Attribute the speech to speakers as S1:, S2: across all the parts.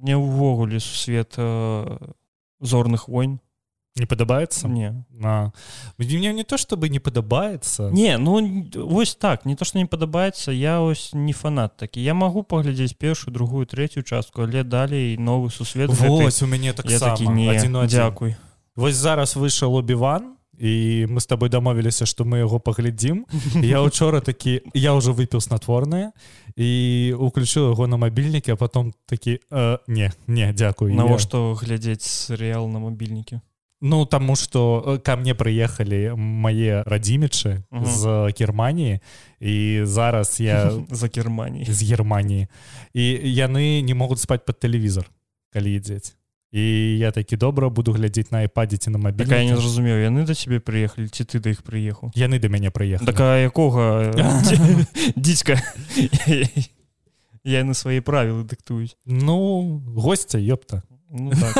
S1: мне ўвогуле сусвет э, зорных войн
S2: не падабаецца
S1: не
S2: на ну, мне не то чтобы не падабаецца
S1: не ну н- вось так не то што не падабаецца я ось не фанат такі я магу паглядзець першую другую трэцюю частку але далей новы сусвет гэты
S2: Вось у мяне так
S1: я такі не дзякуй
S2: Вось зараз выйшаў обіван і мы с тобой дамовіліся што мы яго паглядзім я учора такі я ўжо выпіў снатворнае і уключыў яго на мабільніке а потом такі э, не не дзякую я-
S1: навошта глядзець серыял на мабільніке
S2: Ну таму што э, ка мне прыехалі мае радзімічы
S1: Мгм.
S2: з Геррманіі і э, зараз я
S1: за германій
S2: з Геррманіі і яны не могуць спаць под тэлевізор калі ідзець і я такі добра буду глядзець на айпадзе ці на
S1: такая Так, не
S2: мабільніке
S1: зразумеў яны да цябе прыехалі ці ты да іх прыехаў
S2: яны да мяне прыехалі
S1: такая якога дзіцька яны свае правілы дыктуюць
S2: Ну госця ёпта
S1: Ну так.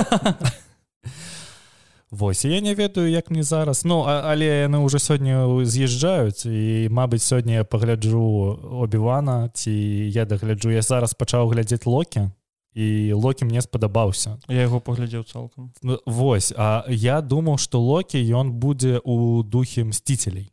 S2: Вось і я не ведаю як мне зараз Ну а, але яны ўжо сёння з'язджаюць і Мабыць сёння я пагляджу обівана ці я дагляджу я зараз пачаў глядзець локі і локі мне спадабаўся
S1: я яго паглядзеў цалкам
S2: Ну, Вось А я думаў што локі ён будзе у духе мсціцелей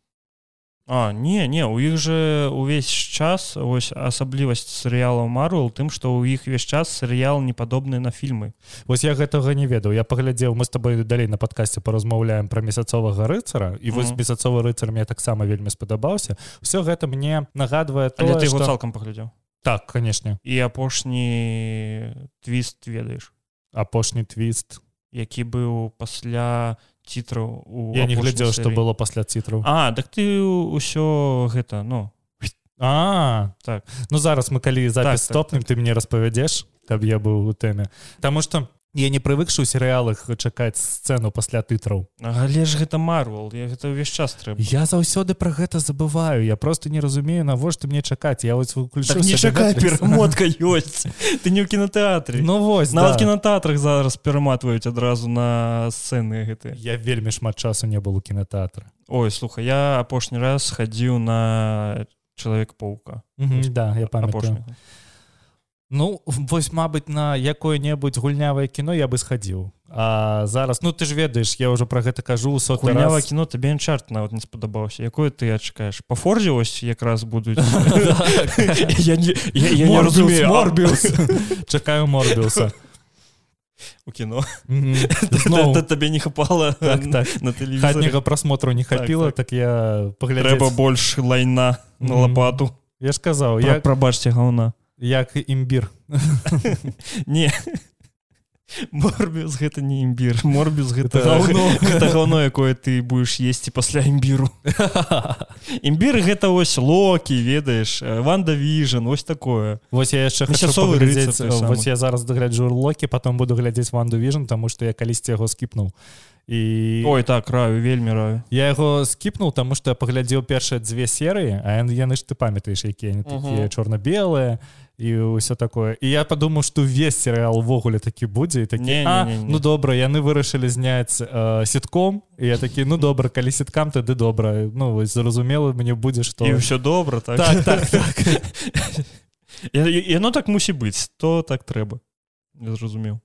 S1: А не не у іх же увесь час ось асаблівасць серыялаў Марвел тым што ў іх весь час серыял не падобны на фільмы
S2: Вось я гэтага не ведаў я паглядзеў мы з тобой далей на падкасці паразмаўляем пра месяцовага рыцара і вось
S1: Мгм.
S2: месяцовы рыцар мне таксама вельмі спадабаўся все гэта мне нагадвае
S1: але ты
S2: тое,
S1: яго
S2: што-
S1: цалкам паглядзеў
S2: так канешне
S1: і апошні твіст ведаеш
S2: апошні твіст
S1: які быў пасля цітраў у
S2: я не
S1: апошняй
S2: глядзеў што
S1: серыі.
S2: было пасля цітраў
S1: А так ты ўсё гэта ну
S2: а
S1: Так.
S2: ну зараз мы калі
S1: Так, так,
S2: запіс стопнем ты мне распавядзеш каб я быў у тэме Таму што я не прывыкшы у серыялах чакаць сцэну пасля тытраў
S1: але ж гэта Марвел я гэта ўвесь час трэба
S2: я заўсёды пра гэта забываю я просто не разумею навошта мне чакаць я вось выключу
S1: так не
S2: сабе
S1: чакай
S2: Netflix.
S1: перамотка ёсць ты не ў кінотэатры
S2: ну вось
S1: нават
S2: да.
S1: кінотэатрах зараз пераматваюць адразу на сцэны гэтыя
S2: я вельмі шмат часу не был у кінотэатра
S1: Ой слухай я апошні раз хадзіў на чалавек паука
S2: да я памятаю
S1: апошняга
S2: Ну вось мабыць на якое-небудзь гульнявае кіно я бы схадзіў А зараз ну ты ж ведаеш я ўжо пра гэта кажу у соты
S1: гульнява
S2: раз.
S1: кіно табе анчарт нават не спадабаўся якое ты адчакаеш па форзе вось якраз будуць я не я- я не
S2: Морбіус,
S1: разумею
S2: Морбіус. чакаю морбіуса
S1: а- у кіно
S2: Зноў.
S1: Та- та- табе не хапала
S2: Так, так.
S1: на тэлевізоры
S2: хатняга просмотру не
S1: Так,
S2: хапіла
S1: так.
S2: так я
S1: трэба
S2: паглядзеў
S1: больш лайна на
S2: Мгм.
S1: лапату
S2: я ж казаў
S1: Пра-
S2: як
S1: прабачце гаўна
S2: як імбір
S1: не морбіус гэта не імбір морбіус гэта
S2: Гэта гаўно.
S1: гэта гаўно якое ты будзеш есці пасля імбіру імбір гэта вось локі ведаеш э, ванда віжан вось такое
S2: Вось я яшчэ хачу
S1: Месяцовы рыцар
S2: паглядзець,
S1: той самы.
S2: вось я зараз дагляджу локі потом буду глядзець ванду віжн тому што я калісьці яго скіпнуў і
S1: ой так раю вельмі раю
S2: Я яго скіпнуў, таму што я паглядзеў першыя дзве серыі, а ян- яны ж ты памятаеш, якія яны такія
S1: Мгм.
S2: чорна-белыя і ўсё такое. І я падумаў, што ўвесь серыял увогуле такі будзе і такі
S1: Не, не,
S2: «А,
S1: не, не».
S2: ну добра, яны вырашылі зняць э, сетком і я такі ну добра, калі сеткам тады добра. Ну вось зразумела мне будзе, што
S1: і ўсё добра так
S2: так так так.
S1: Я- я- яно так мусі быць то так трэба Я зразумеў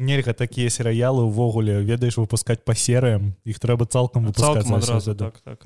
S2: Нельга так такія серыялы ўвогуле ведаеш выпускаць па серыям. Іх трэба цалкам выпускаць
S1: цалкам
S2: заўсёды,
S1: адразу
S2: да.
S1: так так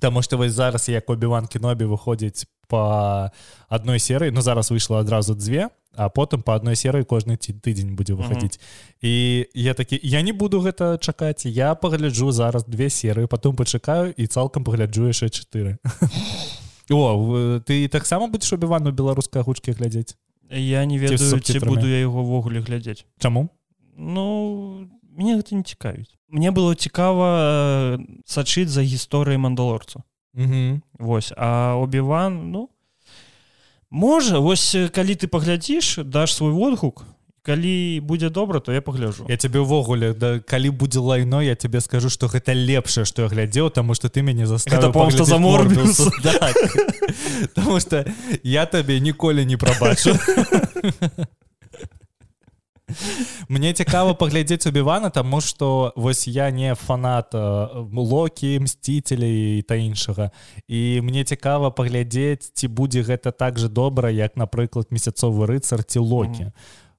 S2: Таму што вось зараз як обіван кінобі выходзіць по адной серыі Ну зараз выйшла адразу дзве а потым по адной серыі кожны ці тыдзень будзе выходзіць і я такі я не буду гэта чакаць я пагляджу зараз две серыі потом пачакаю і цалкам пагляджу яшчэ чатыры О в- ты таксама будзеш обівану беларускай агучкі глядзець
S1: я не
S2: з
S1: ведаю ці
S2: субтітрамі.
S1: буду я яго ўвогуле глядзець
S2: Чаму
S1: Ну мне гэта не цікавіць. Мне было цікава э, сачыць за гісторыяй мандалорцу. Вось а обіван ну можа вось э, калі ты паглядзіш даш свой водгук калі будзе добра то я пагляжу
S2: Я цябе ўвогуле да калі будзе лайно я тебе скажу што гэта лепшае што я глядзеў таму што ты мяне
S1: Гэта,
S2: заставіў
S1: па-моему, што за
S2: паглядзець
S1: Морбіуса.
S2: «Морбіуса». Так. Таму што я табе ніколі не прабачу Мне цікава паглядзець убівана таму што вось я не фанат э, локі мсціцелей і та іншага і мне цікава паглядзець ці будзе гэта так же добра як напрыклад месяцовы рыцар ці локі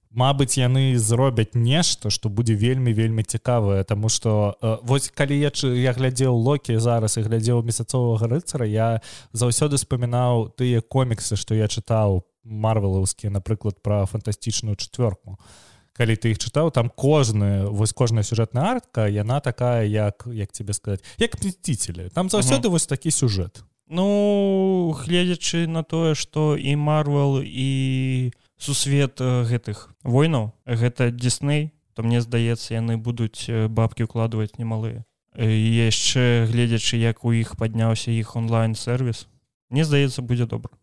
S2: Мабыць яны зробяць нешта што будзе вельмі вельмі цікавае Таму што э, вось калі я чы- я глядзеў локі зараз і глядзеў месяцовага рыцара я заўсёды спамінаў тыя коміксы што я чытаў марвелаўскія напрыклад пра фантастычную чацвёрку калі ты іх чытаў там кожная вось кожная сюжэтная артка яна такая як як тебе сказаць як мсціцелі там заўсёды вось такі сюжэт
S1: Ну гледзячы на тое што і марвел і сусвет э, гэтых войнаў гэта Дисней то мне здаецца яны будуць э, бабкі укладваць немалыя Э, і яшчэ гледзячы як у іх падняўся іх онлайн сервіс Мне здаецца будзе добра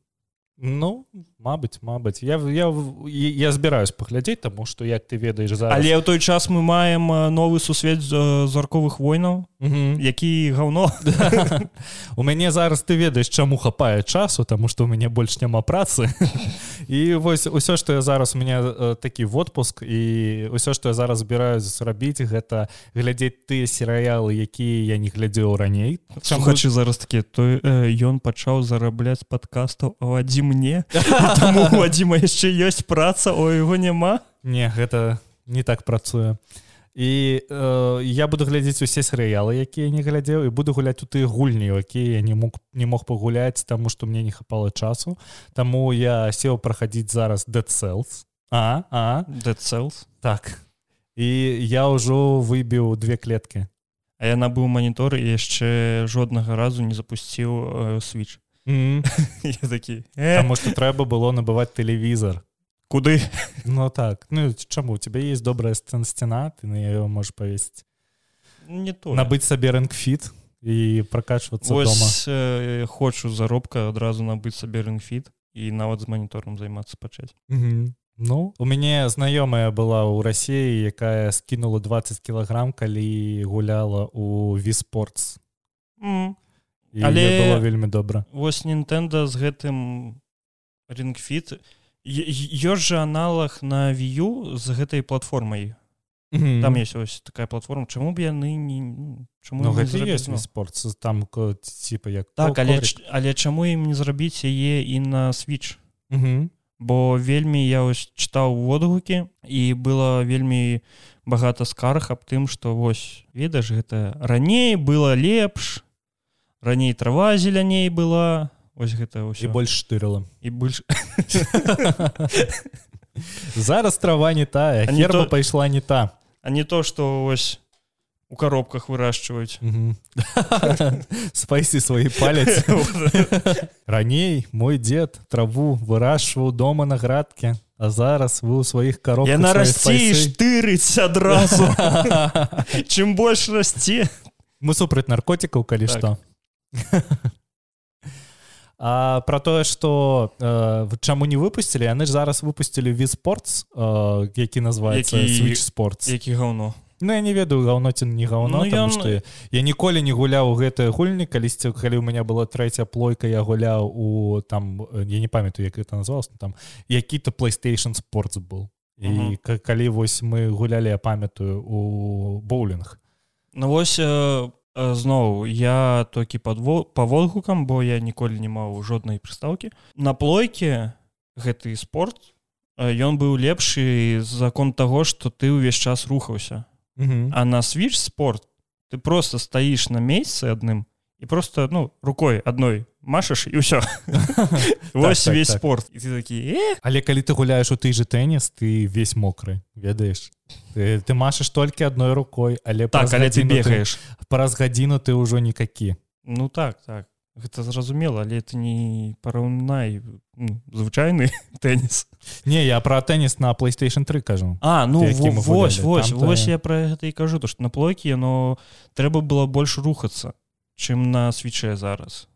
S2: Ну Мабыць Мабыць я в- я в- я я збіраюсь паглядзець таму што як ты ведаеш за
S1: але ў той час мы маем э, новы сусвет з- зарковых войнаў
S2: Мгм.
S1: які гаўно
S2: у мяне зараз ты ведаеш чаму хапае часу таму што у мяне больш няма працы і вось усё што я зараз у меня э, такі водпуск і ўсё што я зараз збіраюсь рабіць гэта глядзець тыя серыялы якія я не глядзеў раней Чаму-
S1: Слухачы зараз такі то э, ён пачаў зарабляць з падкастаў а вадзі мне І таму у вадзіма яшчэ ёсць праца о яго няма
S2: Не, гэта не так працуе. І э, я буду глядзець усе серыялы, якія не глядзеў і буду гуляць у тыя гульні, якія я не мог не мог пагуляць, таму што мне не хапала часу. Таму я сеў прахадзіць зараз Dead Cells. А, а,
S1: Dead Cells
S2: так. І я ўжо выбіў две клеткі.
S1: А я набыў манітор і яшчэ жоднага разу не запусціў э, switch
S2: Mm.
S1: я такі э,
S2: Таму што трэба было набываць тэлевізор.
S1: куды
S2: Ну так, ну ці- чаму у цябе есть добрая сцен сцяна, ты на яе можаш павесці.
S1: не то
S2: Набыць сабе рэнкфіт і пракачвацца дома.
S1: Вось э, хочу заробка адразу набыць сабе рынфіт і нават з манітором займацца пачаць
S2: Мгм. Ну у мяне знаёмая была ў рассіі якая скінула 20 кілаграм калі гуляла у віспортс
S1: mm.
S2: і
S1: Але-
S2: Але... было вельмі добра
S1: Вось Nintendo з гэтым рингфіт ёсць жа аналог на вію з гэтай платформай там есть вось такая платформа чаму б яны не ну, чаму
S2: ну,
S1: ім не
S2: гэта
S1: зрабіць,
S2: ёсць
S1: ну?
S2: спорт там ко- типа як
S1: так але ч- але чаму ім не зрабіць яе і на switch бо вельмі я вось чытаў водгукі і было вельмі багата скарг аб тым што вось ведаеш гэта раней было лепш раней трава зеляней была ось гэта
S2: і
S1: ўсё
S2: больш штырыла
S1: і больш
S2: зараз трава не тая
S1: А не
S2: герба
S1: то-
S2: пайшла не та
S1: а не то што вось у коробках выращваюць
S2: спайсі свае паляць раней мой дзед траву вырашваў дома на градке а зараз вы ў сваіх коробках
S1: яна
S2: свае
S1: расце і
S2: спайсы.
S1: штырыць адразу чым больш расце
S2: мы супраць наркотикаў калі
S1: Так.
S2: так. што А пра тое што э, вы- чаму не выпусцілі яны ж зараз выпусцілі від спортс э, які называецца
S1: Які-
S2: які... спорт
S1: які гаўно
S2: Ну я не ведаю гаўно ці не
S1: Ну,
S2: гаўно ну, ён...
S1: ён-
S2: што я, я ніколі не гуляў у гэтыя гульні калісьці калі у меня была трэця плойка я гуляў у там э, я не памятаю як это называлось ну, там які-то playstation спортс был
S1: Мгм.
S2: і ка- калі вось мы гулялі я памятаю у боулінг
S1: Ну вось э, э, зноў я толькі падво па водгукам бо я ніколі не маў жоднай прыстаўкі на плойке гэты спорт э, ён быў лепшы за конт таго што ты ўвесь час рухаўся а на switch спорт ты просто стаіш на месцы адным і просто ну рукой адной машаш і ўсё вось
S2: так,
S1: весь
S2: так.
S1: спорт і ты такі «Э,
S2: Але калі ты гуляеш у той же тэніс ты весь мокры ведаеш ты, ты машаш толькі адной рукой але
S1: так
S2: праз
S1: але ты
S2: гадзіну
S1: бегаеш
S2: праз гадзіну ты ўжо некакі
S1: ну так так гэта зразумела але ты не параўнай ну, звычайны тэніс
S2: Не я про тэніс на playstation 3 кажу
S1: А ну
S2: Ті, які
S1: во-
S2: ми
S1: вось
S2: гуляли.
S1: вось
S2: Там-то
S1: вось
S2: я-
S1: я про гэта і кажу то что на плойке яно трэба было больш рухацца чым на свічэ зараз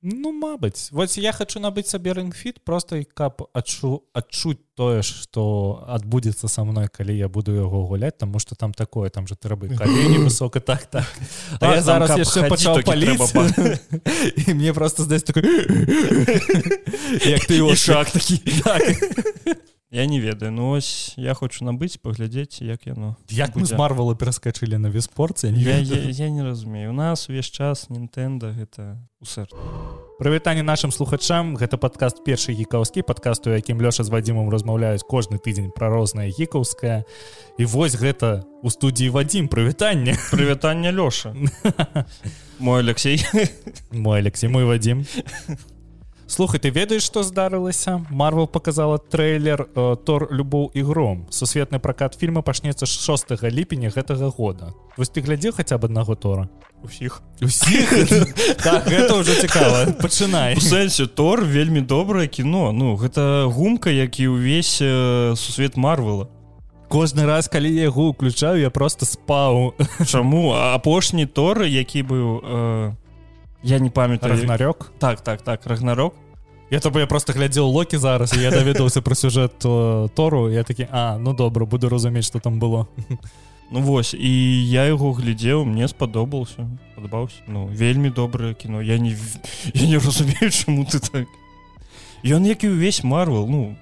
S2: Ну Мабыць вось я хочу набыць сабе рэнгфіт просто і каб адчу адчуць тое што адбудзецца са мной калі я буду яго гуляць таму што там такое там же трэба і калені высока так так
S1: Так,
S2: А я
S1: там
S2: зараз
S1: каб
S2: яшчэ
S1: хадзі
S2: пачаў
S1: толькі
S2: паліць
S1: трэба
S2: і мне просто здаць такой як ты
S1: І
S2: его
S1: шаг
S2: такі так.
S1: я не ведаю ну ось я хочу набыць паглядзець як яно
S2: як мы з марвала пераскачылі на веспорце
S1: я, я, я не разумею у нас увесь час Нтэнда гэта у сэрца
S2: прывітанне нашим слухачам гэта падкаст першы гікаўскі падкаст у якім лёша з вадзімом размаўляюць кожны тыдзень пра рознае гікаўскае і вось гэта у студіі вадзім прывітанне
S1: прывітанне лёша мой алексей
S2: мой алексей мой вадзім слухай ты ведаеш што здарылася марвел показала трейлер э, тор любоў і гром сусветны пракат фільма пачнецца 6 ліпеня гэтага года вось ты глядзеў хаця б аднаго тора
S1: усіх
S2: усіх так, гэта ўжо цікава пачынай
S1: у сэнсе тор вельмі добрае кіно ну гэта гумка які ўвесь э, сусвет марвела
S2: кожны раз калі я яго ўключаю я просто спаў
S1: чаму апошні тор які быў э, я не памятаю
S2: рагнарёк
S1: так так так рагнарок
S2: я то бы я просто глядзеў локі зараз я даведаўся пра сюжэт э, тору я такі а ну добра буду разумець что там было
S1: Ну вось і я яго глядзеў мне спадабаўся падабаўся ну вельмі добрае кіно я не я не разумею чаму ты так ён як і ўвесь марвел ну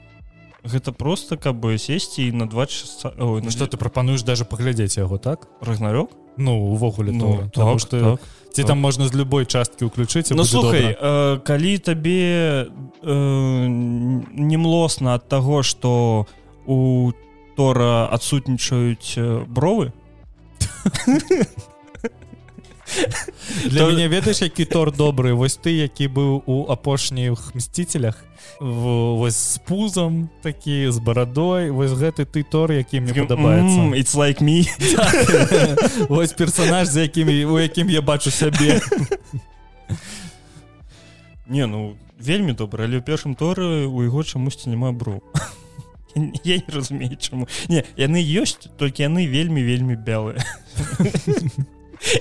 S1: гэта просто каб бы сесці і на 26 Ой,
S2: ну
S1: на
S2: что ты прапануеш даже паглядзець яго так
S1: рагнарёк
S2: ну увогуле
S1: ну,
S2: ну, так,
S1: так,
S2: что
S1: так.
S2: ці там можна з любой часткі уключыць і
S1: Ну
S2: будзе
S1: слухай
S2: добра.
S1: э, калі табе э, немлосна ад таго што у тора адсутнічаюць э, бровы
S2: для
S1: то-
S2: мяне ведаеш які тор добры вось ты які быў у апошніх мсціцелях В- вось з пузам такі з барадой вось гэты ты тор які мне
S1: М,
S2: падабаецца
S1: it's like me
S2: вось персонаж за якімі у якім я бачу сябе
S1: Не ну вельмі добра але ў першым торы у яго чамусьці няма броў я не разумею чаму не яны ёсць толькі яны вельмі вельмі бялыя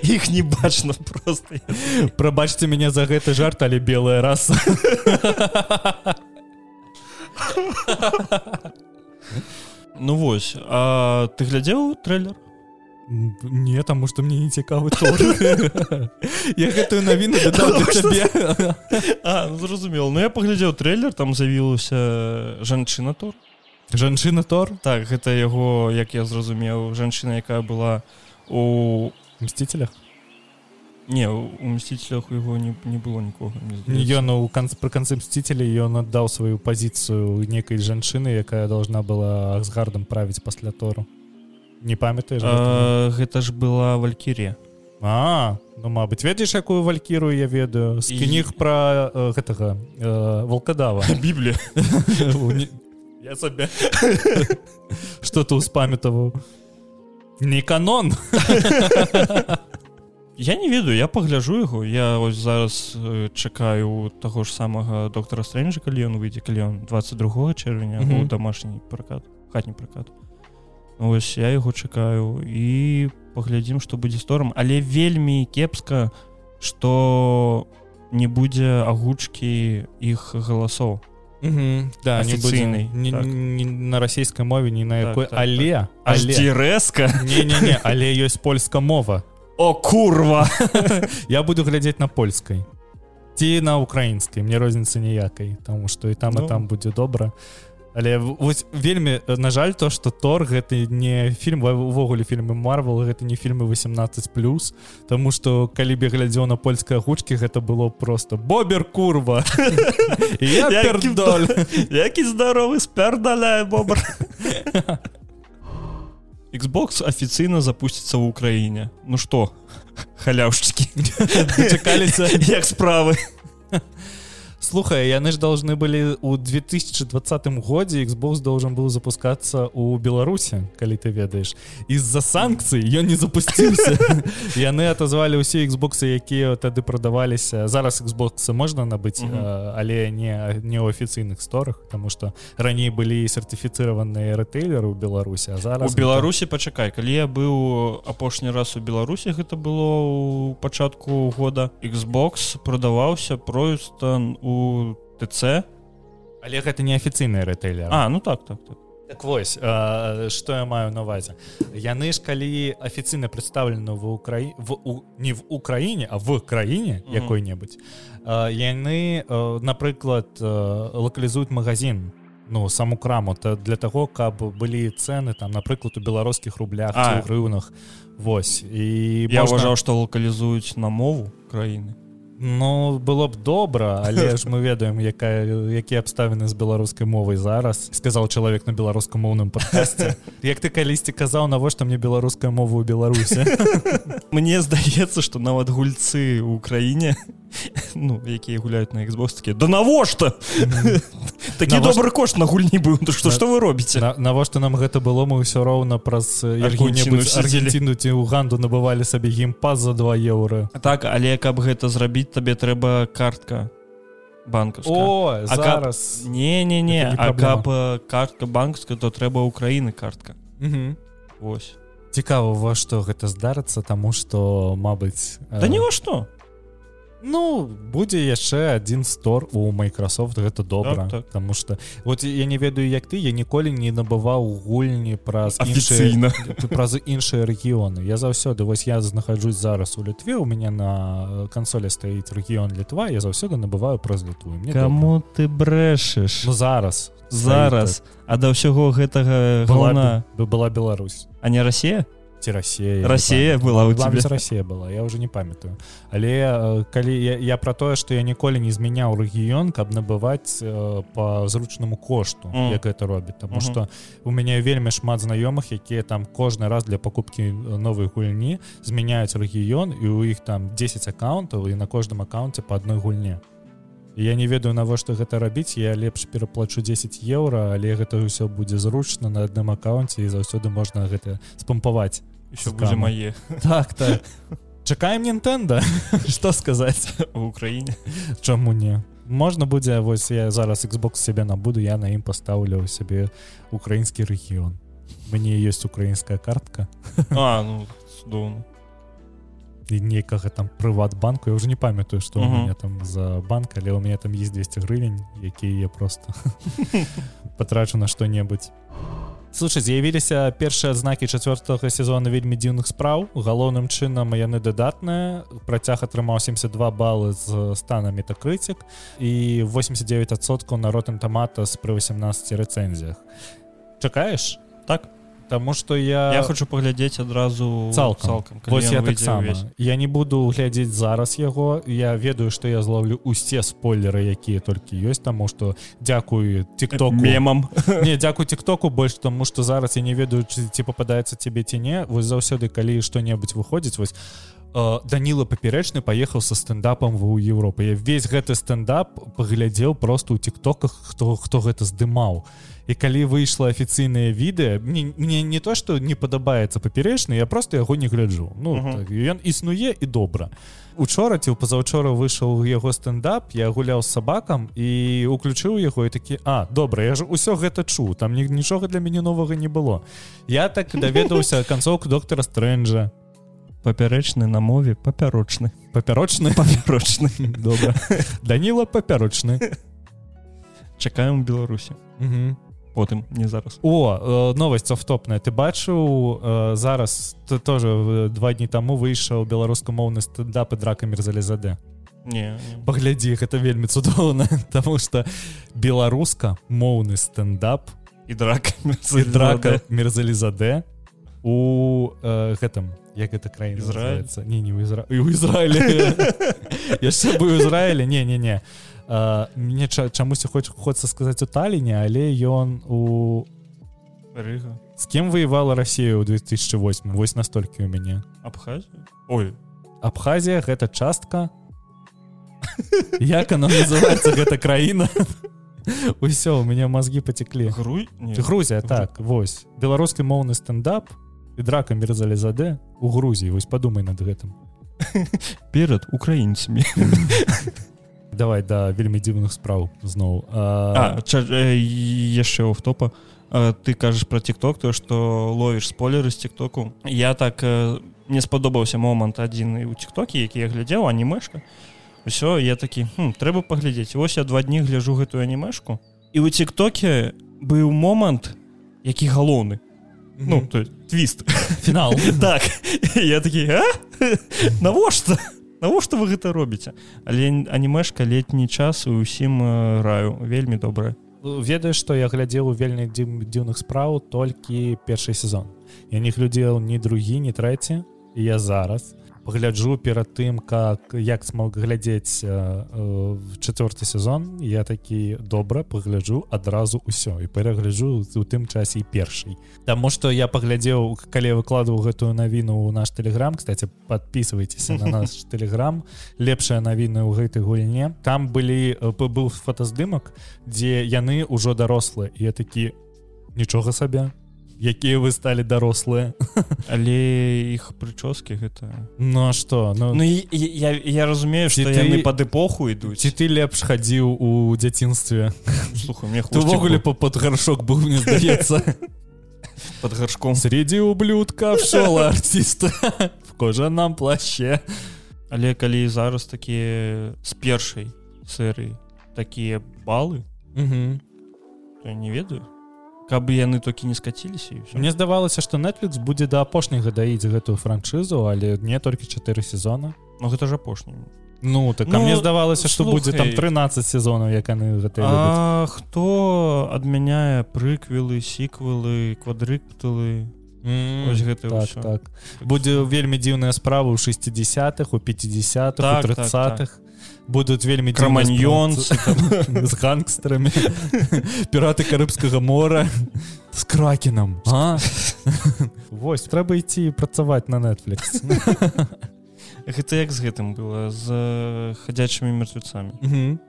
S1: іх не бачна просто
S2: прабачце мяне за гэты жарт але белая раса
S1: ну вось а ты глядзеў трэйлер
S2: М, Не, таму што мне не цікавы тор Я гэтую навіну дадаў да цябе
S1: а ну, зразумела Ну я паглядзеў трэйлер там завілася жанчына тур
S2: жанчына тор
S1: так гэта яго як я зразумеў жанчына якая была у
S2: мсціцелях
S1: не у мсціцелях у яго не, не было нікога мне здаецца.
S2: ён ну, у канц пры канцы мсціцелі ён аддаў сваю пазіцыю некай жанчыны якая должна была з гардам правіць пасля тору не памятаеш гэтага?
S1: А, гэта ж была валькірія
S2: а ну мабыць ведаеш якую валькіру я ведаю з
S1: І-
S2: кніг пра э, гэтага э, валкадава
S1: біблія
S2: я сабе что ты успамятаваў не канон
S1: я не ведаю я пагляжу яго я ось зараз э, чакаю таго ж самага доктора стрэнджа калі ён выйдзе калі ён 22 чэрвеня
S2: Мгм.
S1: у домашні пракат хатні пракат Ну, ось я яго чакаю і паглядзім што будзе сторам але вельмі кепска што не будзе агучкі іх галасоў
S2: да не
S1: Афіцыйнай,
S2: будзе ні-
S1: так.
S2: ні на расійскай мове ні на
S1: Так,
S2: якой
S1: так, так.
S2: але але
S1: Ажці рэзка
S2: не але ёсць польска мова
S1: о курва
S2: я буду глядзець на польскай ці на украінскай мне розніцы ніякай тому что і там
S1: Ну.
S2: і там будзе добра але в- вось вельмі э, на жаль то что тор гэты не фільм ва- увогуле фільмы марвел гэта не фільмы 18 плюс Таму что калі б я глядзеў на польскай гучкі гэта было просто бобер курва І я
S1: Я
S2: пердоль.
S1: Які здаровы спярдаляе бобр. Xbox афіцыйна запусціцца ў краіне. Ну што, халяўшчыкі,
S2: Дачакаліся.
S1: як справы.
S2: Слухай, яны ж должны былі у 2020 годзе Xbox должен быў запускацца у Беларусі, калі ты ведаеш. З-за санкцый ён не запусціўся. Яны атазвалі ўсе Xбоксы, якія тады прадаваліся. Зараз Xбоксы можна набыць,
S1: Мгм.
S2: э, але не, не ў афіцыйных сторах, таму што раней былі сертыфіцыраваныя рытэйлеры ў Беларусі,
S1: У
S2: а зараз так.
S1: Беларусі пачакай, калі я быў апошні раз у Беларусі гэта было ў пачатку года Xbox прадаваўся проюстан у ТЦ.
S2: але гэта не афіцыйныя рытэйлеры.
S1: А ну так так так.
S2: Так вось э, што я маю на увазе яны ж калі афіцыйна прадстаўлены ва ўкраі в у... не в украіне а в краіне
S1: Мгм.
S2: якой-небудзь э, яны э, напрыклад э, лакалізуюць магазин ну саму краму та для таго каб былі цэны там напрыклад у беларускіх рублях
S1: А.
S2: рыўнах Вось і
S1: я
S2: можна-
S1: ўважаў што лакалізуюць на мову краіны
S2: Ну было б добра але ж мы ведаем якая якія абставіны з беларускай мовай зараз сказаў чалавек на беларускамоўным падкасце Як ты калісьці казаў навошта мне беларуская мова ў беларусе
S1: Мне здаецца што нават гульцы ў краіне ну якія гуляюць на Xbox такія да навошта такі
S2: Навошта-
S1: добры кошт на гульні быў то што што вы робіце
S2: На- навошта нам гэта было мы ўсё роўна праз э, якую-небудзь
S1: Аргенціну сидзелі.
S2: аргенціну ці уганду набывалі сабе геймпас за 2 еўры
S1: так але каб гэта зрабіць табе трэба картка банкаўская
S2: О
S1: А каб-
S2: зараз
S1: не не не
S2: Гэта не
S1: а
S2: праблема.
S1: каб э, картка банкаўская то трэба ўкраіны картка
S2: Мгм.
S1: Вось
S2: цікава во што гэта здарыцца таму што мабыць э,
S1: да не во што
S2: Ну будзе яшчэ адзін стор у Microsoft гэта добра
S1: Так, так.
S2: Таму што вот я не ведаю як ты я ніколі не набываў гульні праз іншыя
S1: афіцыйна
S2: праз іншыя рэгіёны я заўсёды вось я знаходжусь зараз у літве у мяне на кансолі стаіць рэгіён літва я заўсёды набываю праз літву І мне добра.
S1: Каму ты брэшаш
S2: ну зараз
S1: зараз а да ўсяго гэтага
S2: была,
S1: гална
S2: б- была Беларусь
S1: а не Расія
S2: ці Расія
S1: Расія была ў цябе
S2: Расія была я уже не памятаю але э, калі я, я про тое што я ніколі не змяняў рэгіён каб набываць э, по зручнаму кошту
S1: Мгм.
S2: mm. як гэта робіць тому
S1: Мгм.
S2: что у мяне вельмі шмат знаёмых якія там кожны раз для пакупкі э, новай гульні змяняюць рэгіён і у іх там 10 аккаунтаў і на кожным аккаунце по адной гульне І я не ведаю навошта гэта рабіць я лепш пераплачу 10 еўра але гэта ўсё будзе зручна на адным аккаунце і заўсёды можна гэта спампаваць
S1: Еще
S2: Цікаво.
S1: будзе мае
S2: Так, так. Чакаем Нінтэнда что сказаць
S1: в Украіне
S2: чаму не можна будзе вось я зараз Xbox себе набуду я на ім пастаўлю сябе украінскі рэгіён мне ёсць украінская картка
S1: А ну цудоўна
S2: і некага там прыватбанку я уже не памятаю што у
S1: Мгм.
S2: меня там за банк але у меня там есть 200 гривень якія я просто потрачу на что-небудзь Слушай з'явіліся першыя адзнакі чацвёртага сезона вельмі дзіўных спраў галоўным чынам яны дадатныя працяг атрымаў 72 балы з стана метакрыцік і 89соткаў на ротен тамата з пры 18 рэцэнзіях чакаеш
S1: Так.
S2: Таму што я
S1: Я хочу паглядзець адразу
S2: Цалкам.
S1: цалкам калі
S2: Вось
S1: ён
S2: я
S1: выйдзе
S2: таксама
S1: ўвесь.
S2: я не буду глядзець зараз яго я ведаю што я зловлю усе спойлеры якія толькі ёсць таму што дзякую тиктоку
S1: мемам
S2: не дзякую тиктоку больш таму што зараз я не ведаю ці, ці попадаецца цябе ці не вось заўсёды калі што-небудзь выходзіць вось э, Даніла папярэчны паехаў са стэндапам ва ў Еўропы я весь гэты стэндап паглядзеў просто ў тиктоках хто хто гэта здымаў і калі выйшла афіцыйнае відэа мне, мне не то што не падабаецца папярэчны я просто яго не гляджу ну
S1: Мгм.
S2: так, ён існуе і добра учора ці ў пазаўчора выйшаў яго стэндап я гуляў з сабакам і уключыў яго і такі а добра я ж усё гэта чуў там ні, нічога для мяне новага не было я так і даведаўся канцоўку доктора стрэнджа
S1: папярэчны на мове папярочны
S2: папярочны
S1: папярочны
S2: добра Даніла папярочны
S1: чакаем у беларусі
S2: Мгм.
S1: потым не зараз
S2: О э, новасць софтопная ты бачыў э, зараз ты тоже э, два дні таму выйшаў беларускамоўны стэндап і драка мерзалізаде
S1: не не.
S2: паглядзі гэта вельмі цудоўна Таму што беларуска моўны стэндап
S1: і драка
S2: і драка мерзалізаде у э, гэтым як гэта краіна
S1: Ізраіль?
S2: называецца? не не у Ізра... у Ізраілі яшчэ быў у Ізраілі не не не А, мне ча- чамусь хоць хочацца сказаць у таліне але ён у
S1: рыга
S2: з кем воевала Расія ў 2008 вось настолькі у мяне
S1: абхазія ой
S2: Абхазія гэта частка як она называется гэта краіна усё у меня мозги потеклі
S1: груй не.
S2: Грузія так вось беларускі моўны стэндап і драка мерзалізаде у Грузіі вось падумай над гэтым
S1: перад украінцамі
S2: давай да вельмі дзіўных спраў зноў
S1: А, ча- э, яшчэ офтопа Э, ты кажаш про тикток то что ловіш спойлеры з тиктоку я так э, не спадобаўся момант адзін і у тиктоке які я глядзеў анімешка ўсё я такі «Хм, трэба паглядзець вось я два дні гляжу гэтую анімешку і у тиктоке быў момант які галоўны ну то есть, твіст
S2: фінал
S1: так я такі «А? навошта навошта вы гэта робіце але анімешка летні час і ўсім э, раю вельмі добрая
S2: ведаеш што я глядзеў у вельмі дзіўных спраў толькі першы сезон я не глядзеў ні другі не трэці і я зараз пагляджу перад тым как як смог глядзець э, чацвёрты сезон я такі добра пагляджу адразу ўсё і перагляджу у тым часе і першай Таму што я паглядзеў калі выкладваў гэтую навіну ў наш тэлеграм кстати подписывайтеся на наш тэлеграм лепшыя навіны ў гэтай гульне там былі э, быў фотаздымак дзе яны ўжо дарослыя я такі нічога сабе якія вы сталі дарослыя
S1: але іх прычоскі гэта
S2: Ну а что
S1: ну, ну і, і, я, я разумею
S2: Ці
S1: што
S2: ты-
S1: яны пад эпоху ідуць
S2: ці ты лепш хадзіў у дзяцінстве
S1: слухай мне
S2: ты увогуле па- под гаршок быў мне здаецца
S1: под гаршком
S2: среди ублюдка шола артиста в кожаном плаще
S1: але калі зараз такія з першай серыі такія балы
S2: Мне
S1: то я не ведаю каб яны толькі не скаціліся і ўсё
S2: здавалася што Netflix будзе да апошняга даіць гэтую франшызу але не толькі 4 сезона
S1: Ну гэта ж апошні
S2: Ну так
S1: Ну,
S2: а мне здавалася што
S1: слухай.
S2: будзе там 13 сезонаў як яны гэта любяць.
S1: А хто адмяняе прыквелы сіквелы квадрыктылы
S2: М,
S1: вось гэта
S2: так,
S1: ўсё.
S2: так. будзе вельмі дзіўная справа ў 60-х у 50-х
S1: Так,
S2: у
S1: так,
S2: 30-х будуць вельмі дзіўныя
S1: краманьёнцы
S2: справы з гангстерамі піраты карыбскага мора з кракенам а? Вось трэба ісці і працаваць на Netflix
S1: гэта як з гэтым было з э, хадзячымі мертвецамі
S2: Мгм.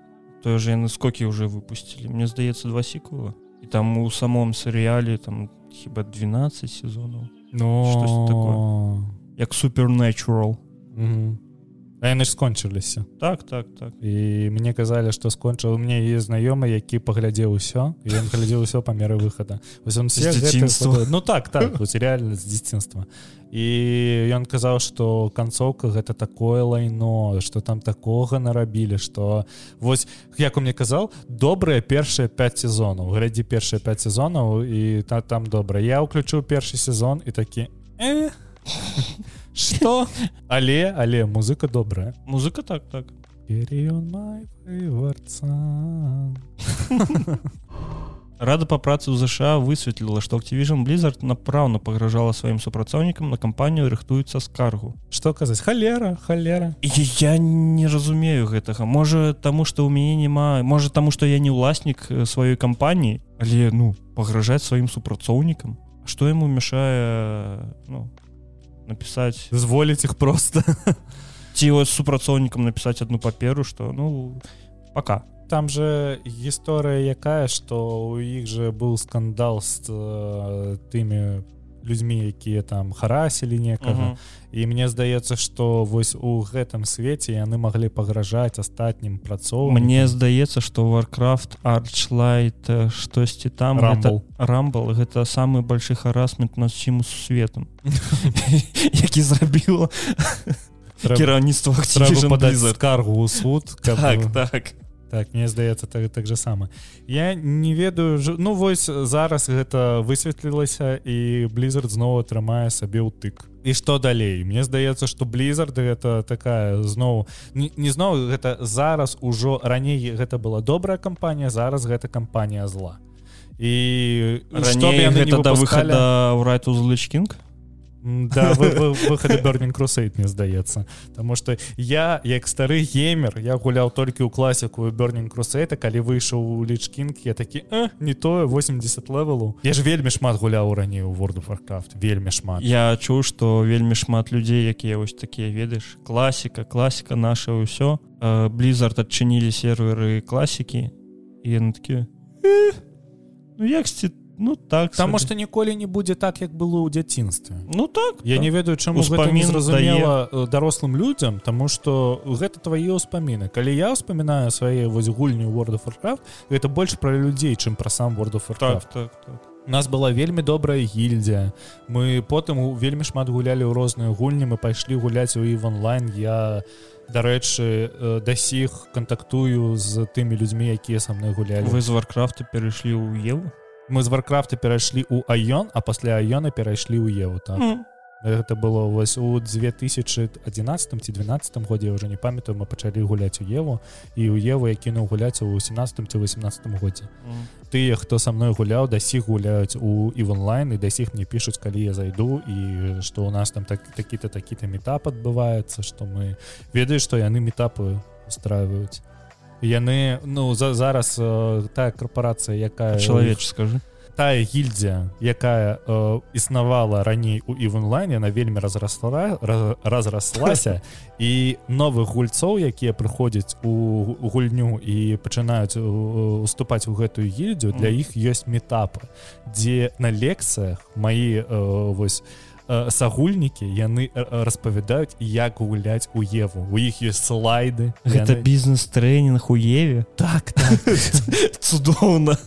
S1: тое же яны скокі уже выпустили мне здаецца два сіквела і там у самом серыяле там хіба 12 сезонаў Штось
S2: Ну
S1: як супернатурал
S2: Мгм. А яны ж скончыліся
S1: так так так
S2: і мне казалі што скончыў у мне є знаёмы які паглядзеў усё і ён глядзеў усё па меры выхада вось он
S1: З
S2: все гэтыя
S1: дзяцінства.
S2: фото- ну так так вось реально з дзяцінства і ён казаў што канцоўка гэта такое лайно што там такога нарабілі што вось як у мне казал добрыя першыя 5 сезонаў глядзі першыя 5 сезонаў і та там добра я ўключыў першы сезон і такі э? что але але музыка добрая
S1: музыка так так
S2: Carry on my favorite song.
S1: рада па працы ў ЗША высветліла што Activision Blizzard напраўна пагражала сваім супрацоўнікам на кампанію рыхтуецца скаргу
S2: Што казаць халера халера
S1: І я не разумею гэтага можа таму што ў мяне няма можа таму што я не ўласнік э, сваёй кампаніі але ну пагражаць сваім супрацоўнікам што яму мешае ну, напісаць
S2: зволіць іх просто
S1: ці вось супрацоўнікам напісаць одну паперу што ну пока
S2: там же гісторыя якая што у іх же быў скандал з э, тымі людзьмі якія там харасілі некага
S1: Мгм.
S2: і мне здаецца што вось у гэтым свеце яны маглі пагражаць астатнім працоўным
S1: Мне здаецца што варкрафт арчлайт э, штосьці там
S2: Rumble.
S1: рамбал гэта самы большой харасмент над чым светом які зрабіла
S2: Трэба-
S1: кіраўніцтва
S2: трэба
S1: Activision
S2: падаць
S1: Blizzard.
S2: скаргу ў суд каб, э,
S1: так так
S2: Так мне здаецца так, так же сама я не ведаю жа- ну вось зараз гэта высветлілася і blizzard зноў атрымае сабе ўтык і што далей Мне здаецца што blizzard гэта такая зноў не, не зноў гэта зараз ужо раней гэта была добрая кампанія зараз гэта кампанія зла і што б
S1: раней
S2: яны не
S1: гэта да
S2: выпускалі-
S1: выхада ўрайту злычкінг
S2: М, Да, вы, вы, выхады Burning Crusade, мне здаецца. Таму што я, як стары геймер, я гуляў толькі ў класіку Burning Crusade, а калі выйшаў у лічкінг, я такі э, не тое 80 левелу. Я ж вельмі шмат гуляў раней у World of Warcraft, вельмі шмат.
S1: я чуў што вельмі шмат людзей якія вось такія ведаеш класіка класіка наша ўсё Э, Blizzard адчынілі серверы класікі і яны такі «Э, ну якці ну так
S2: Таму
S1: сабе».
S2: што ніколі не будзе так, як было ў дзяцінстве.
S1: ну так
S2: Я
S1: так.
S2: не ведаю чаму гэта
S1: Успамін
S2: не зразумела э, дарослым людзям тому что гэта твае ўспаміны калі я ўспамінаю свае вось гульні ў World of Warcraft гэта больш пра людзей чым пра сам World of Warcraft
S1: так так, так.
S2: У нас была вельмі добрая гільдзія мы потым у- вельмі шмат гулялі ў розныя гульні мы пайшлі гуляць у і в онлайн я дарэчы э, да сіх кантактую з тымі людзьмі якія са мной гулялі
S1: вы з варкрафта перайшлі ў еву
S2: мы з варкрафта перайшлі ў айон а пасля айона перайшлі ў еву
S1: М,
S2: там гэта было вось у 2011 ці 12 годзе уже не памятаю мы пачалі гуляць у еву і у еву я кінуў гуляць у 17 ці 18 годзе тыя хто са мной гуляў дасіх гуляюць у і в онлайн і дасіх мне пішуць калі я зайду і што у нас там так такі-то такі-то метап адбываецца што мы ведаю што яны метапы устраиваюць яны ну за зараз э, тая карпорацыя якая
S1: чалавеч скажы
S2: тая гільдзія якая э, існавала раней у і в онлайне она вельмі разрасла раз- разраслася і новых гульцоў якія прыходзяць у гульню і пачынаюць э, уступаць у гэтую гільдзію для
S1: Мгм.
S2: іх ёсць метапы дзе на лекцыях маі э, вось э, сагульнікі яны э, распавядаюць як гуляць у еву у іх ёсць слайды
S1: гэта
S2: яны-
S1: бізнес-трэнінг у еве
S2: так так
S1: цудоўна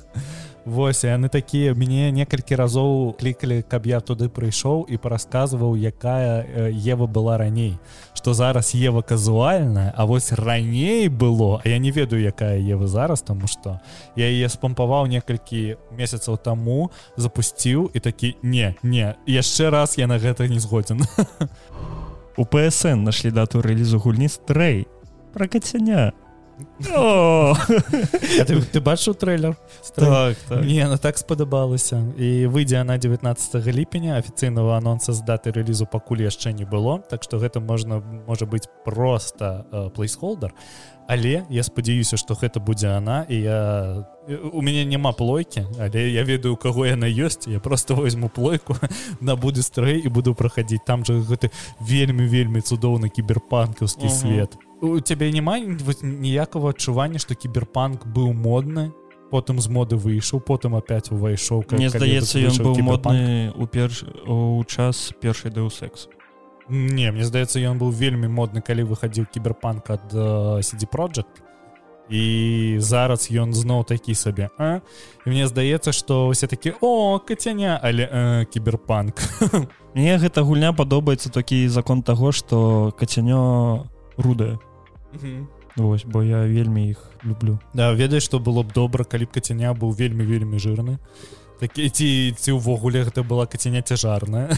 S2: Вось і яны такія мяне некалькі разоў клікалі каб я туды прыйшоў і парасказваў якая э, Ева была раней што зараз Ева казуальная А вось раней было А я не ведаю якая Ева зараз тому што я яе спампаваў некалькі месяцаў таму запусціў і такі не не яшчэ раз я на гэта не згодзін
S1: у псн нашлі дату рэлізу гульні стрэй пра кацяня О,
S2: ты, ты бачыў трэйлер
S1: так, так.
S2: Мне она так спадабалася і выйдзе она 19 ліпеня афіцыйнага анонса з даты рэлізу пакуль яшчэ не было так што гэта можна можа быць просто э, плейсхолдер але я спадзяюся што гэта будзе она і я э, у мяне няма плойкі але я ведаю у каго яна ёсць я просто возьму плойку набуду стрэй і буду праходзіць там же гэты вельмі вельмі цудоўны
S1: Мгм.
S2: кіберпанкаўскі свет у цябе няма вось ніякага адчування што кіберпанк быў модны потым з моды выйшаў потым опять увайшоў ка-
S1: Мне
S2: калі
S1: здаецца ён
S2: выйшаў
S1: быў
S2: «Кіберпанк».
S1: модны у перш у час першай дэусекс
S2: не мне здаецца ён быў вельмі модны калі выхадзіў кіберпанк ад э, CD project і зараз ён зноў такі сабе а і мне здаецца што ўсе такі о кацяня але э, кіберпанк
S1: Мне гэта гульня падобаецца такі закон таго, што кацянё рудае. Вось, бо я вельмі іх люблю.
S2: да ведаеш што было б добра калі б кацяня быў вельмі вельмі жирны такі ці ці ўвогуле гэта была кацяня цяжарная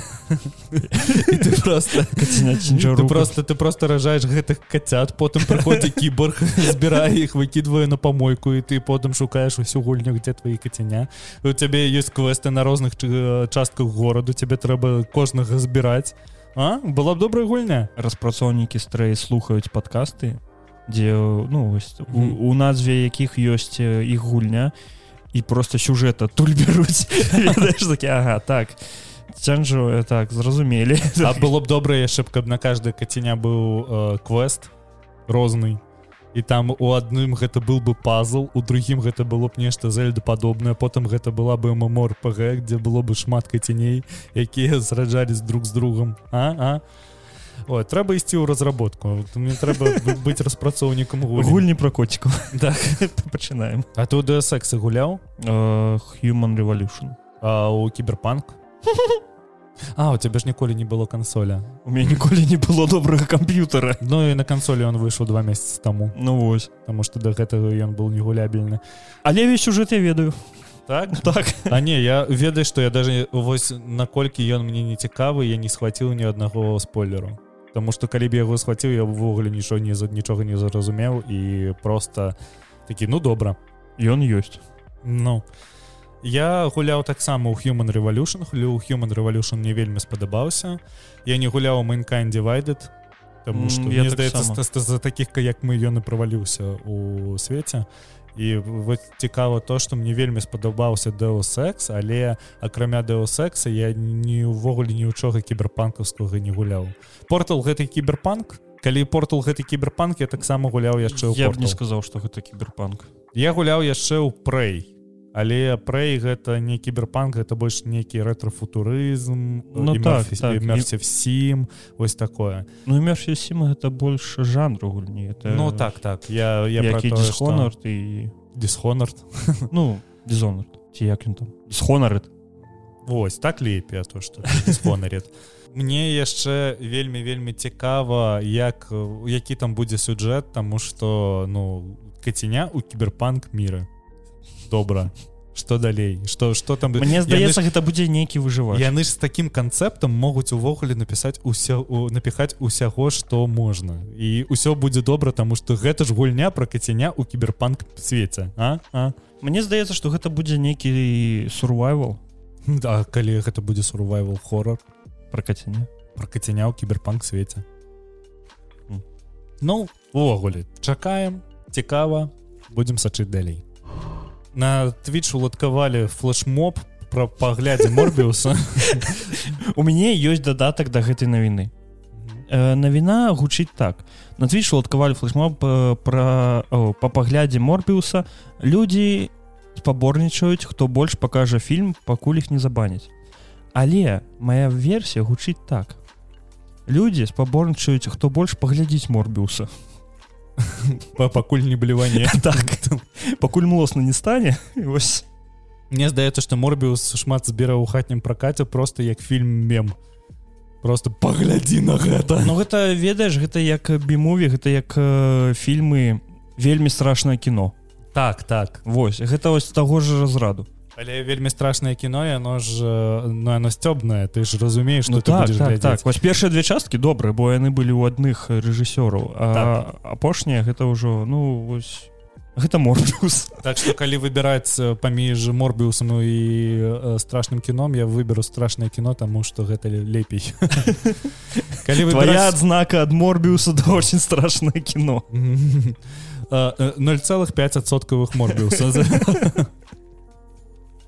S2: І ты просто
S1: Кацяня
S2: ты просто ты просто ражаеш гэтых кацят потым прыходзі кіборг збірае іх выкідвае на памойку і ты потым шукаеш усю гульню где твои кацяня у цябе ёсць квесты на розных чы- частках гораду тебе трэба кожнага збіраць а была б добрая гульня
S1: распрацоўнікі стрэй слухаюць падкасты, дзе ну вось у,
S2: Мгм.
S1: у назве якіх ёсць э, іх гульня і просто сюжэт адтуль бяруць Ведаеш, такі ага так цянжу так зразумелі
S2: а было б добра яшчэ б каб на каждой кацяня быў э, квест розны і там у адным гэта был бы пазл у другім гэта было б нешта зельда падобнае потым гэта была бы ммор пг где было бы шмат каціней якія зраджались друг з другом а а Ой, трэба ісці ў разработку Вот мне трэба бы- быць распрацоўнікам гульні
S1: гульні пра коцікаў
S2: Так.
S1: пачынаем
S2: а ты да сексы гуляў
S1: Э, human revolution
S2: а, у кіберпанк А у цябе ж ніколі не было кансоля
S1: у меня ніколі не было добрага камп'ютара
S2: Ну і на кансолі ён выйшаў два месяцы таму
S1: ну вось
S2: Таму што да гэтага ён быў негулябельны
S1: Але весь сюжэт я ведаю
S2: так
S1: так
S2: А не я ведаю што я даже вось наколькі ён мне не цікавы я не схваціў ні аднаго спойлеру Таму што калі б яго схваціў я б увогуле нічого не за нічога не зразумеў і просто такі ну добра
S1: ён ёсць
S2: Ну я гуляў таксама ў human revolution хлю human revolution мне вельмі спадабаўся я не гуляў у майнкайн divided
S1: М,
S2: Таму што
S1: я
S2: мне
S1: так
S2: здаецца
S1: сама.
S2: ста- ста- за такіх як мы ён і праваліўся у свеце і вось цікава то што мне вельмі спадабаўся дэосекс але акрамя дэосекса я ні ўвогуле ні ў чога кіберпанкаўскага не гуляў портал гэты кіберпанк калі портал гэты кіберпанк я таксама гуляў яшчэ ў
S1: я б
S2: Portal.
S1: не сказаў што гэта кіберпанк
S2: Я гуляў яшчэ ў прэй але прэй гэта не кіберпанк гэта больш нейкі э, рэтрафутурызм
S1: Ну так, так.
S2: всім вось такое
S1: Ну меж сіма гэта больш жанру гульні это
S2: ну так так я я
S1: які дисхонар і
S2: дисхонард
S1: ну дизонар ці як ён там схонарыт
S2: Вось так лепей а то што спонарет Мне яшчэ вельмі вельмі цікава як э, які там будзе сюжэт таму што ну каценя у кіберпанк міра добра што далей што што там
S1: Мне
S2: Я
S1: здаецца
S2: лиш-
S1: гэта будзе нейкі выжываць
S2: яны ж з такім канцэптам могуць увогуле напісаць уся у- напіхаць усяго што можна і ўсё будзе добра таму што гэта ж гульня пра кацяня у кіберпанк свеце а а
S1: Мне здаецца што гэта будзе нейкі сурвайвал
S2: да калі гэта будзе сурвайвал хорор
S1: пра кацяне
S2: пра кацяня ў кіберпанк свеце
S1: М.
S2: ну увогуле чакаем цікава будзем сачыць далей на твіч уладкавалі флешмоб пра паглядзе морбіуса
S1: У мяне ёсць дадатак да гэтай навіны Э, навіна гучыць так на твіч уладкавалі флешмоб э, пра о, па паглядзе морбіуса людзі спаборнічаюць хто больш пакажа фільм пакуль іх не забаняць але моя версія гучыць так людзі спаборнічаюць хто больш паглядзіць морбіуса
S2: па- пакуль не бліванне
S1: так пакуль млосна не стане вось
S2: Мне здаецца што морбіус шмат збіраў у хатнім пракаце просто як фільм мем просто паглядзі на гэта
S1: Ну гэта ведаеш гэта як бімуві гэта як э, фільмы вельмі страшнае кіно
S2: так так
S1: Вось гэта вось таго ж разраду
S2: але вельмі страшнае кіно яно ж э, ну оно сцёбнае ты ж разумееш
S1: Ну
S2: что ты
S1: так,
S2: будзеш
S1: так,
S2: глядзець.
S1: так. Вось першыя две часткі добрыя бо яны былі ў адных рэжысёраў а
S2: Так.
S1: апошняя гэта ўжо ну вось гэта морфус
S2: Так што калі выбіраць э, паміж морбіусам і э, страшным кіном я выберу страшнае кіно таму што гэта ле- лепей калі
S1: твоя
S2: выбіраць
S1: адзнака ад морбіуса да очень страшнае кіно
S2: Мгм. Э, э, 0,5соткавых морбіуса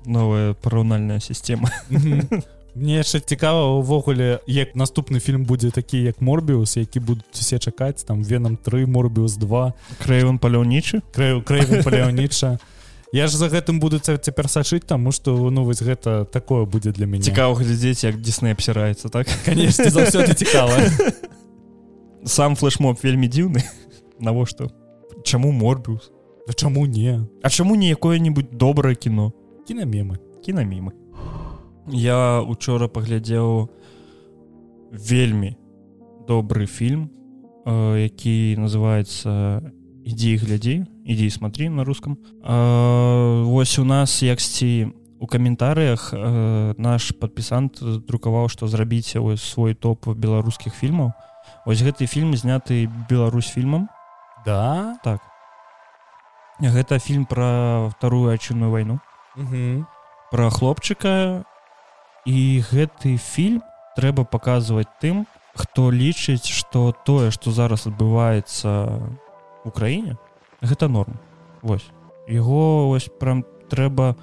S1: новая параўнальная сістэма
S2: Мгм. Мне яшчэ цікава увогуле як наступны фільм будзе такі як морбіус які будуць усе чакаць там веном 3 морбіус 2
S1: крэйван паляўнічы
S2: краю краю паляўніча Я ж за гэтым буду ца- цяпер сачыць таму што ну вось гэта такое будзе для мяне
S1: цікава глядзець як Дісней абсіраецца так
S2: канешне заўсёды цікава
S1: сам флешмоб вельмі дзіўны навошта чаму морбіус
S2: Да чаму не
S1: А чаму не якое-небудзь добрае кіно
S2: кінамемы
S1: кінамімы я учора паглядзеў вельмі добры фільм э, які называется ідзі і глядзі ідзі і смотри на рускам э, Вось у нас яксьці у каментарыях э, наш падпісант друкаваў што зрабіць ось свой топ беларускіх фільмаў Вось гэты фільм зняты беларусь фільмам
S2: да
S1: так гэта фільм пра вторую айчынную вайну пра хлопчыка і гэты фільм трэба паказваць тым хто лічыць што тое што зараз адбываецца у краіне гэта норм Вось яго вось прям трэба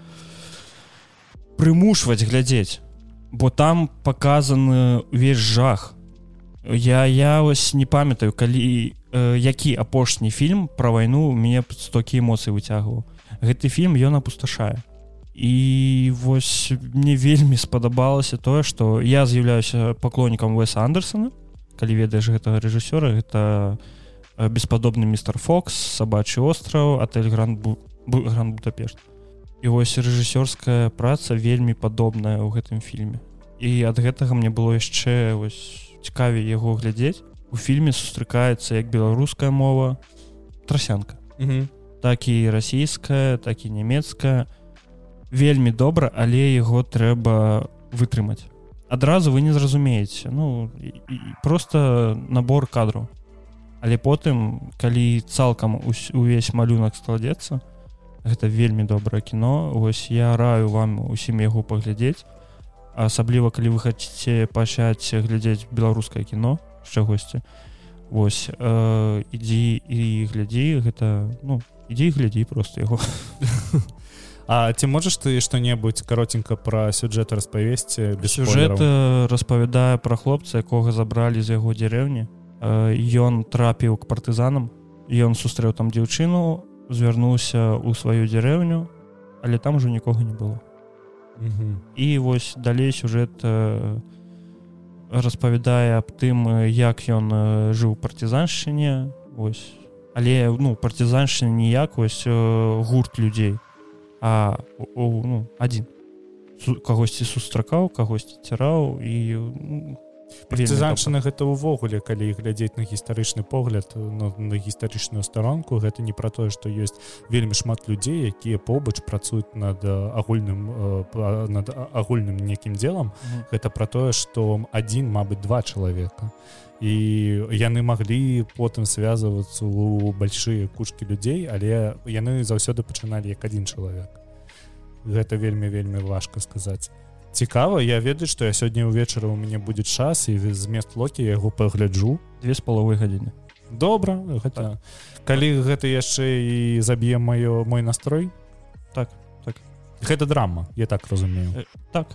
S1: прымушваць глядзець бо там паказаны увесь жах я я вось не памятаю калі э, які апошні фільм пра вайну у мяне столькі эмоцый выцягваў гэты фільм ён апусташае і вось мне вельмі спадабалася тое што я з'яўляюся паклоннікам Уэса Андерсона калі ведаеш гэтага рэжысёра гэта э, беспадобны містер Фокс сабачы остраў отель гранд Бу... Бу... гранд Бутапешт і вось рэжысёрская праца вельмі падобная ў гэтым фільме і ад гэтага мне было яшчэ вось цікавей яго глядзець у фільме сустракаецца як беларуская мова трасянка так і расійская так і нямецкая вельмі добра але яго трэба вытрымаць адразу вы не зразумееце ну і, і просто набор кадру але потым калі цалкам усь- увесь малюнак складзецца гэта вельмі добрае кіно вось я раю вам усім яго паглядзець асабліва калі вы хочаце пачаць глядзець беларускае кіно з чагосьці Вось э, ідзі і глядзі гэта ну ідзі і глядзі просто яго
S2: А ці можаш ты што-небудзь каротенька пра сюджэт распавесці без
S1: сюжэт
S2: спойлераў?
S1: э, распавядае пра хлопца якога забралі з яго дзярэўні Э, ён трапіў к партызанам ён сустрэў там дзяўчыну звярнуўся ў сваю дзярэўню але там ужо нікога не было
S2: Мгм.
S1: і вось далей сюжэт э, распавядае аб тым э, як ён э, жыў у партизаншчыне ось але ну партизаншчына ніяк вось э, гурт людзей а у- у, ну один Су- кагосьці сустракаў кагосьці ціраў і ну,
S2: партызаншчына гэтага ўвогуле калі глядзець на гістарычны погляд на, на гістарычную старонку гэта не пра тое што ёсць вельмі шмат людзей якія побач працуюць над агульным э, над агульным некім делам
S1: Мгм.
S2: гэта пра тое што адзін мабыць два чалавека і яны маглі потым связвацца у большие кучкі людзей але яны заўсёды пачыналі як адзін чалавек гэта вельмі вельмі важка сказаць цікава я ведаю што я сёння ўвечары у мяне будзе час і змест локі я яго пагляджу
S1: две з паловай гадзіны
S2: добра
S1: Так.
S2: гэта калі гэта яшчэ і заб'е маё мой настрой
S1: Так, так.
S2: гэта драма я так разумею
S1: так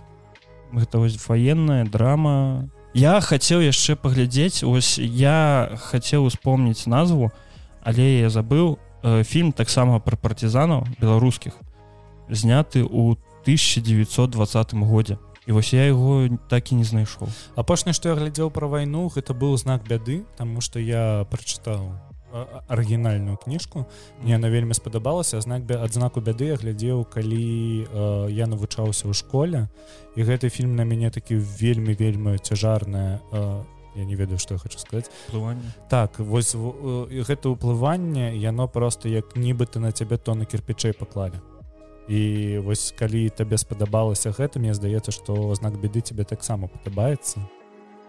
S1: гэта вось ваенная драма я хацеў яшчэ паглядзець ось я хацеў успомніць назву але я забыў Э, фільм таксама пра партизанаў беларускіх зняты ў 1920 годзе і вось я яго так і не знайшоў
S2: апошняе што я глядзеў пра вайну гэта быў знак бяды таму што я прачытаў а- арыгінальную кніжку мне яна вельмі спадабалася знак бя- адзнаку бяды я глядзеў калі э, я навучаўся ў школе і гэты фільм на мяне такі вельмі вельмі цяжарная э, я не ведаю што я хочу сказаць
S1: плыванне
S2: так вось в- э, гэта ўплыванне яно просто як нібыта на цябе тоны кирпічэй паклалі і вось калі табе спадабалася гэта мне здаецца што знак беды тебе таксама падабаецца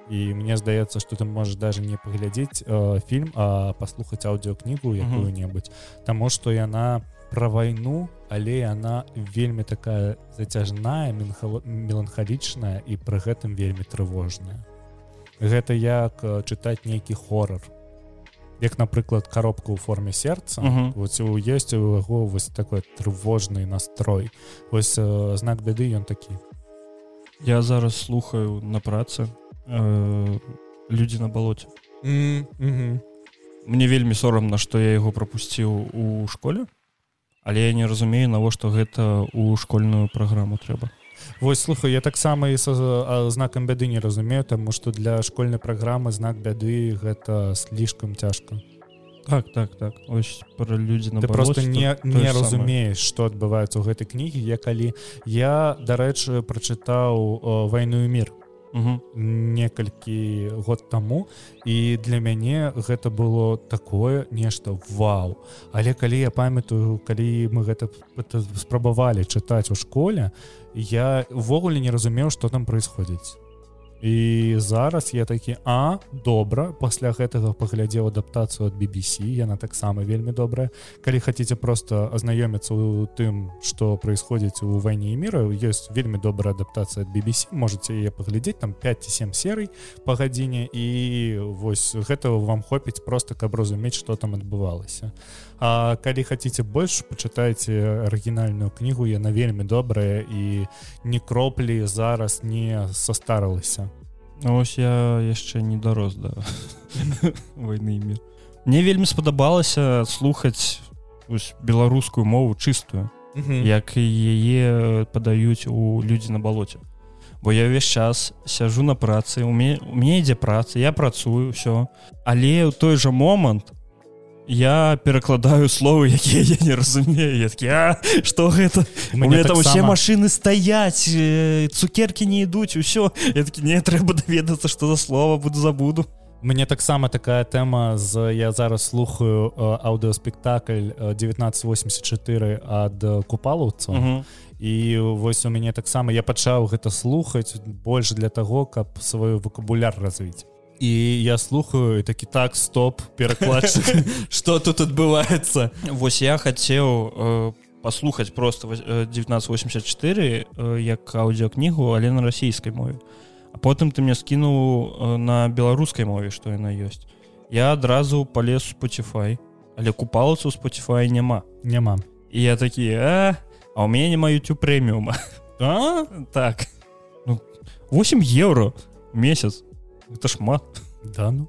S2: і мне здаецца што ты можаш даже не паглядзець э, фільм а паслухаць аўдыокнігу якую-небудзь таму што яна пра вайну але яна вельмі такая зацяжная менхала- меланхалічная і пры гэтым вельмі трывожная гэта як э, чытаць нейкі хорар як напрыклад коробка ў форме сердца
S1: Мгм.
S2: вот у ёсць у яго вось такой трывожны настрой вось э, знак бяды ён такі
S1: я зараз слухаю на працы э, людзі на балоце
S2: mm
S1: мне вельмі сорамна што я яго прапусціў у школе але я не разумею навошта гэта у школьную праграму трэба
S2: Вось слухай я таксама і са а, знакам бяды не разумею таму што для школьнай праграмы знак бяды гэта слишком цяжка
S1: так так так ось про людзі на
S2: ты просто не
S1: тое
S2: не
S1: ж самае.
S2: разумееш што адбываецца ў гэтай кнігі я калі я дарэчы прачытаў э, вайну і мір
S1: угу.
S2: некалькі год таму і для мяне гэта было такое нешта вау але калі я памятаю калі мы гэта п- пыта- спрабавалі чытаць у школе я увогуле не разумеў што там происходзіць і зараз я такі а добра пасля гэтага паглядзеў адаптацыю ад BBC яна таксама вельмі добрая калі хаце просто азнаёміцца у тым што происходзіць у вайне і міра ёсць вельмі добрая адаптацыя ад BBC можете яе паглядзець там 5-7 серый па гадзіне і вось гэтага вам хопіць просто каб разумець што там адбывалася А калі хаце больш пачытайце арыгінальную кнігу яна вельмі добрая і ні кроплі зараз не састарылася
S1: ось я яшчэ не дарос да войны і мир мне вельмі спадабалася слухаць ось беларускую мову чыстую як і яе падаюць у людзі на балоце бо я ўвесь час сяжу на працы у мяне у мяне ідзе праца я працую все але ў той жа момант я перакладаю словы якія я не разумею я такі, а, что гэта у меня
S2: так
S1: там усе машины стаяць э, цукеркі не ідуць усё я такі не трэба даведацца што за слова буду забуду
S2: Мне таксама такая тэма з я зараз слухаю э, аўдыоспектакль э, 1984 ад э, купалаўцаў mm -hmm.
S1: Мгм.
S2: і вось у мяне таксама я пачаў гэта слухаць больш для таго каб свой вакабуляр развіць і я слухаю і такі так стоп перакладчык что тут адбываецца
S1: Вось я хацеў э, паслухаць просто вось, э, 1984 э, як аўдыокнігу, але на расійскай мове. А потым ты мне скінуў э, на беларускай мове, што яна ёсць. Я адразу палез у Spotify, але купалацу Spotify няма.
S2: няма
S1: І я такі а, а ў мяне няма YouTube прэміума. А? Так. Ну, 8 еўро месяц. Это шмат.
S2: да ну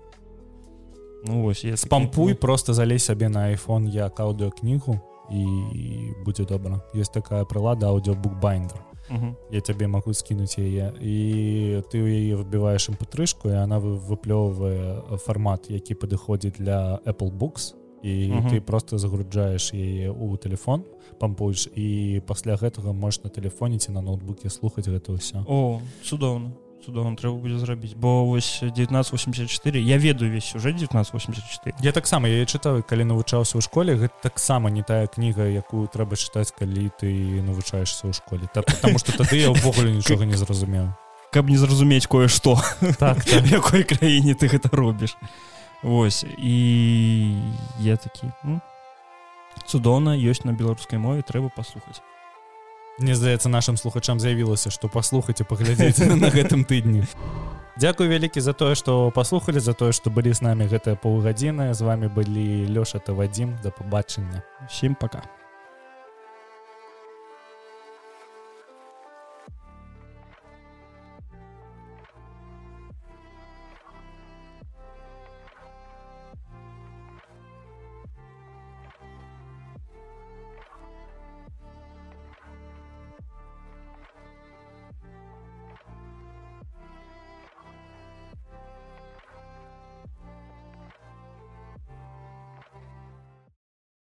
S1: Ну вось я такі,
S2: спампуй
S1: ну,
S2: просто залезь сабе на iphone як аўдыокнігу і будзе добра ёсць такая прылада аудиобукбайндер
S1: ну, мгм.
S2: я цябе магу скінуць яе і ты ў яе выбіваешь імпатрышку і она вы- выплёўвае фармат які падыходзіць для apple books і
S1: Мгм.
S2: ты просто загружаеш яе ў телефон пампуеш і пасля гэтага можешь на телефоне ці на ноутбуке слухаць гэта ўсё
S1: О, цудоўна. цудоўна трэба будзе зрабіць бо вось 1984 я ведаю весь сюжэт 1984
S2: я таксама я чытаў калі навучаўся ў школе гэта таксама не тая кніга якую трэба чытаць калі ты навучаешься ў школе так потому что тады я ўвогуле нічога не зразумеў
S1: каб не зразумець кое-што
S2: так
S1: в якой краіне ты гэта робіш Вось і я такі «М, цудоўна ёсць на беларускай мове трэба паслухаць
S2: Мне здаецца нашим слухачам заявілася што паслухаць і паглядзець на гэтым тыдні Дякую вялікі за тое што паслухалі за тое што былі з намі гэтыя паўгадзіны з вами былі Лёша та Вадзім да пабачання
S1: всім пока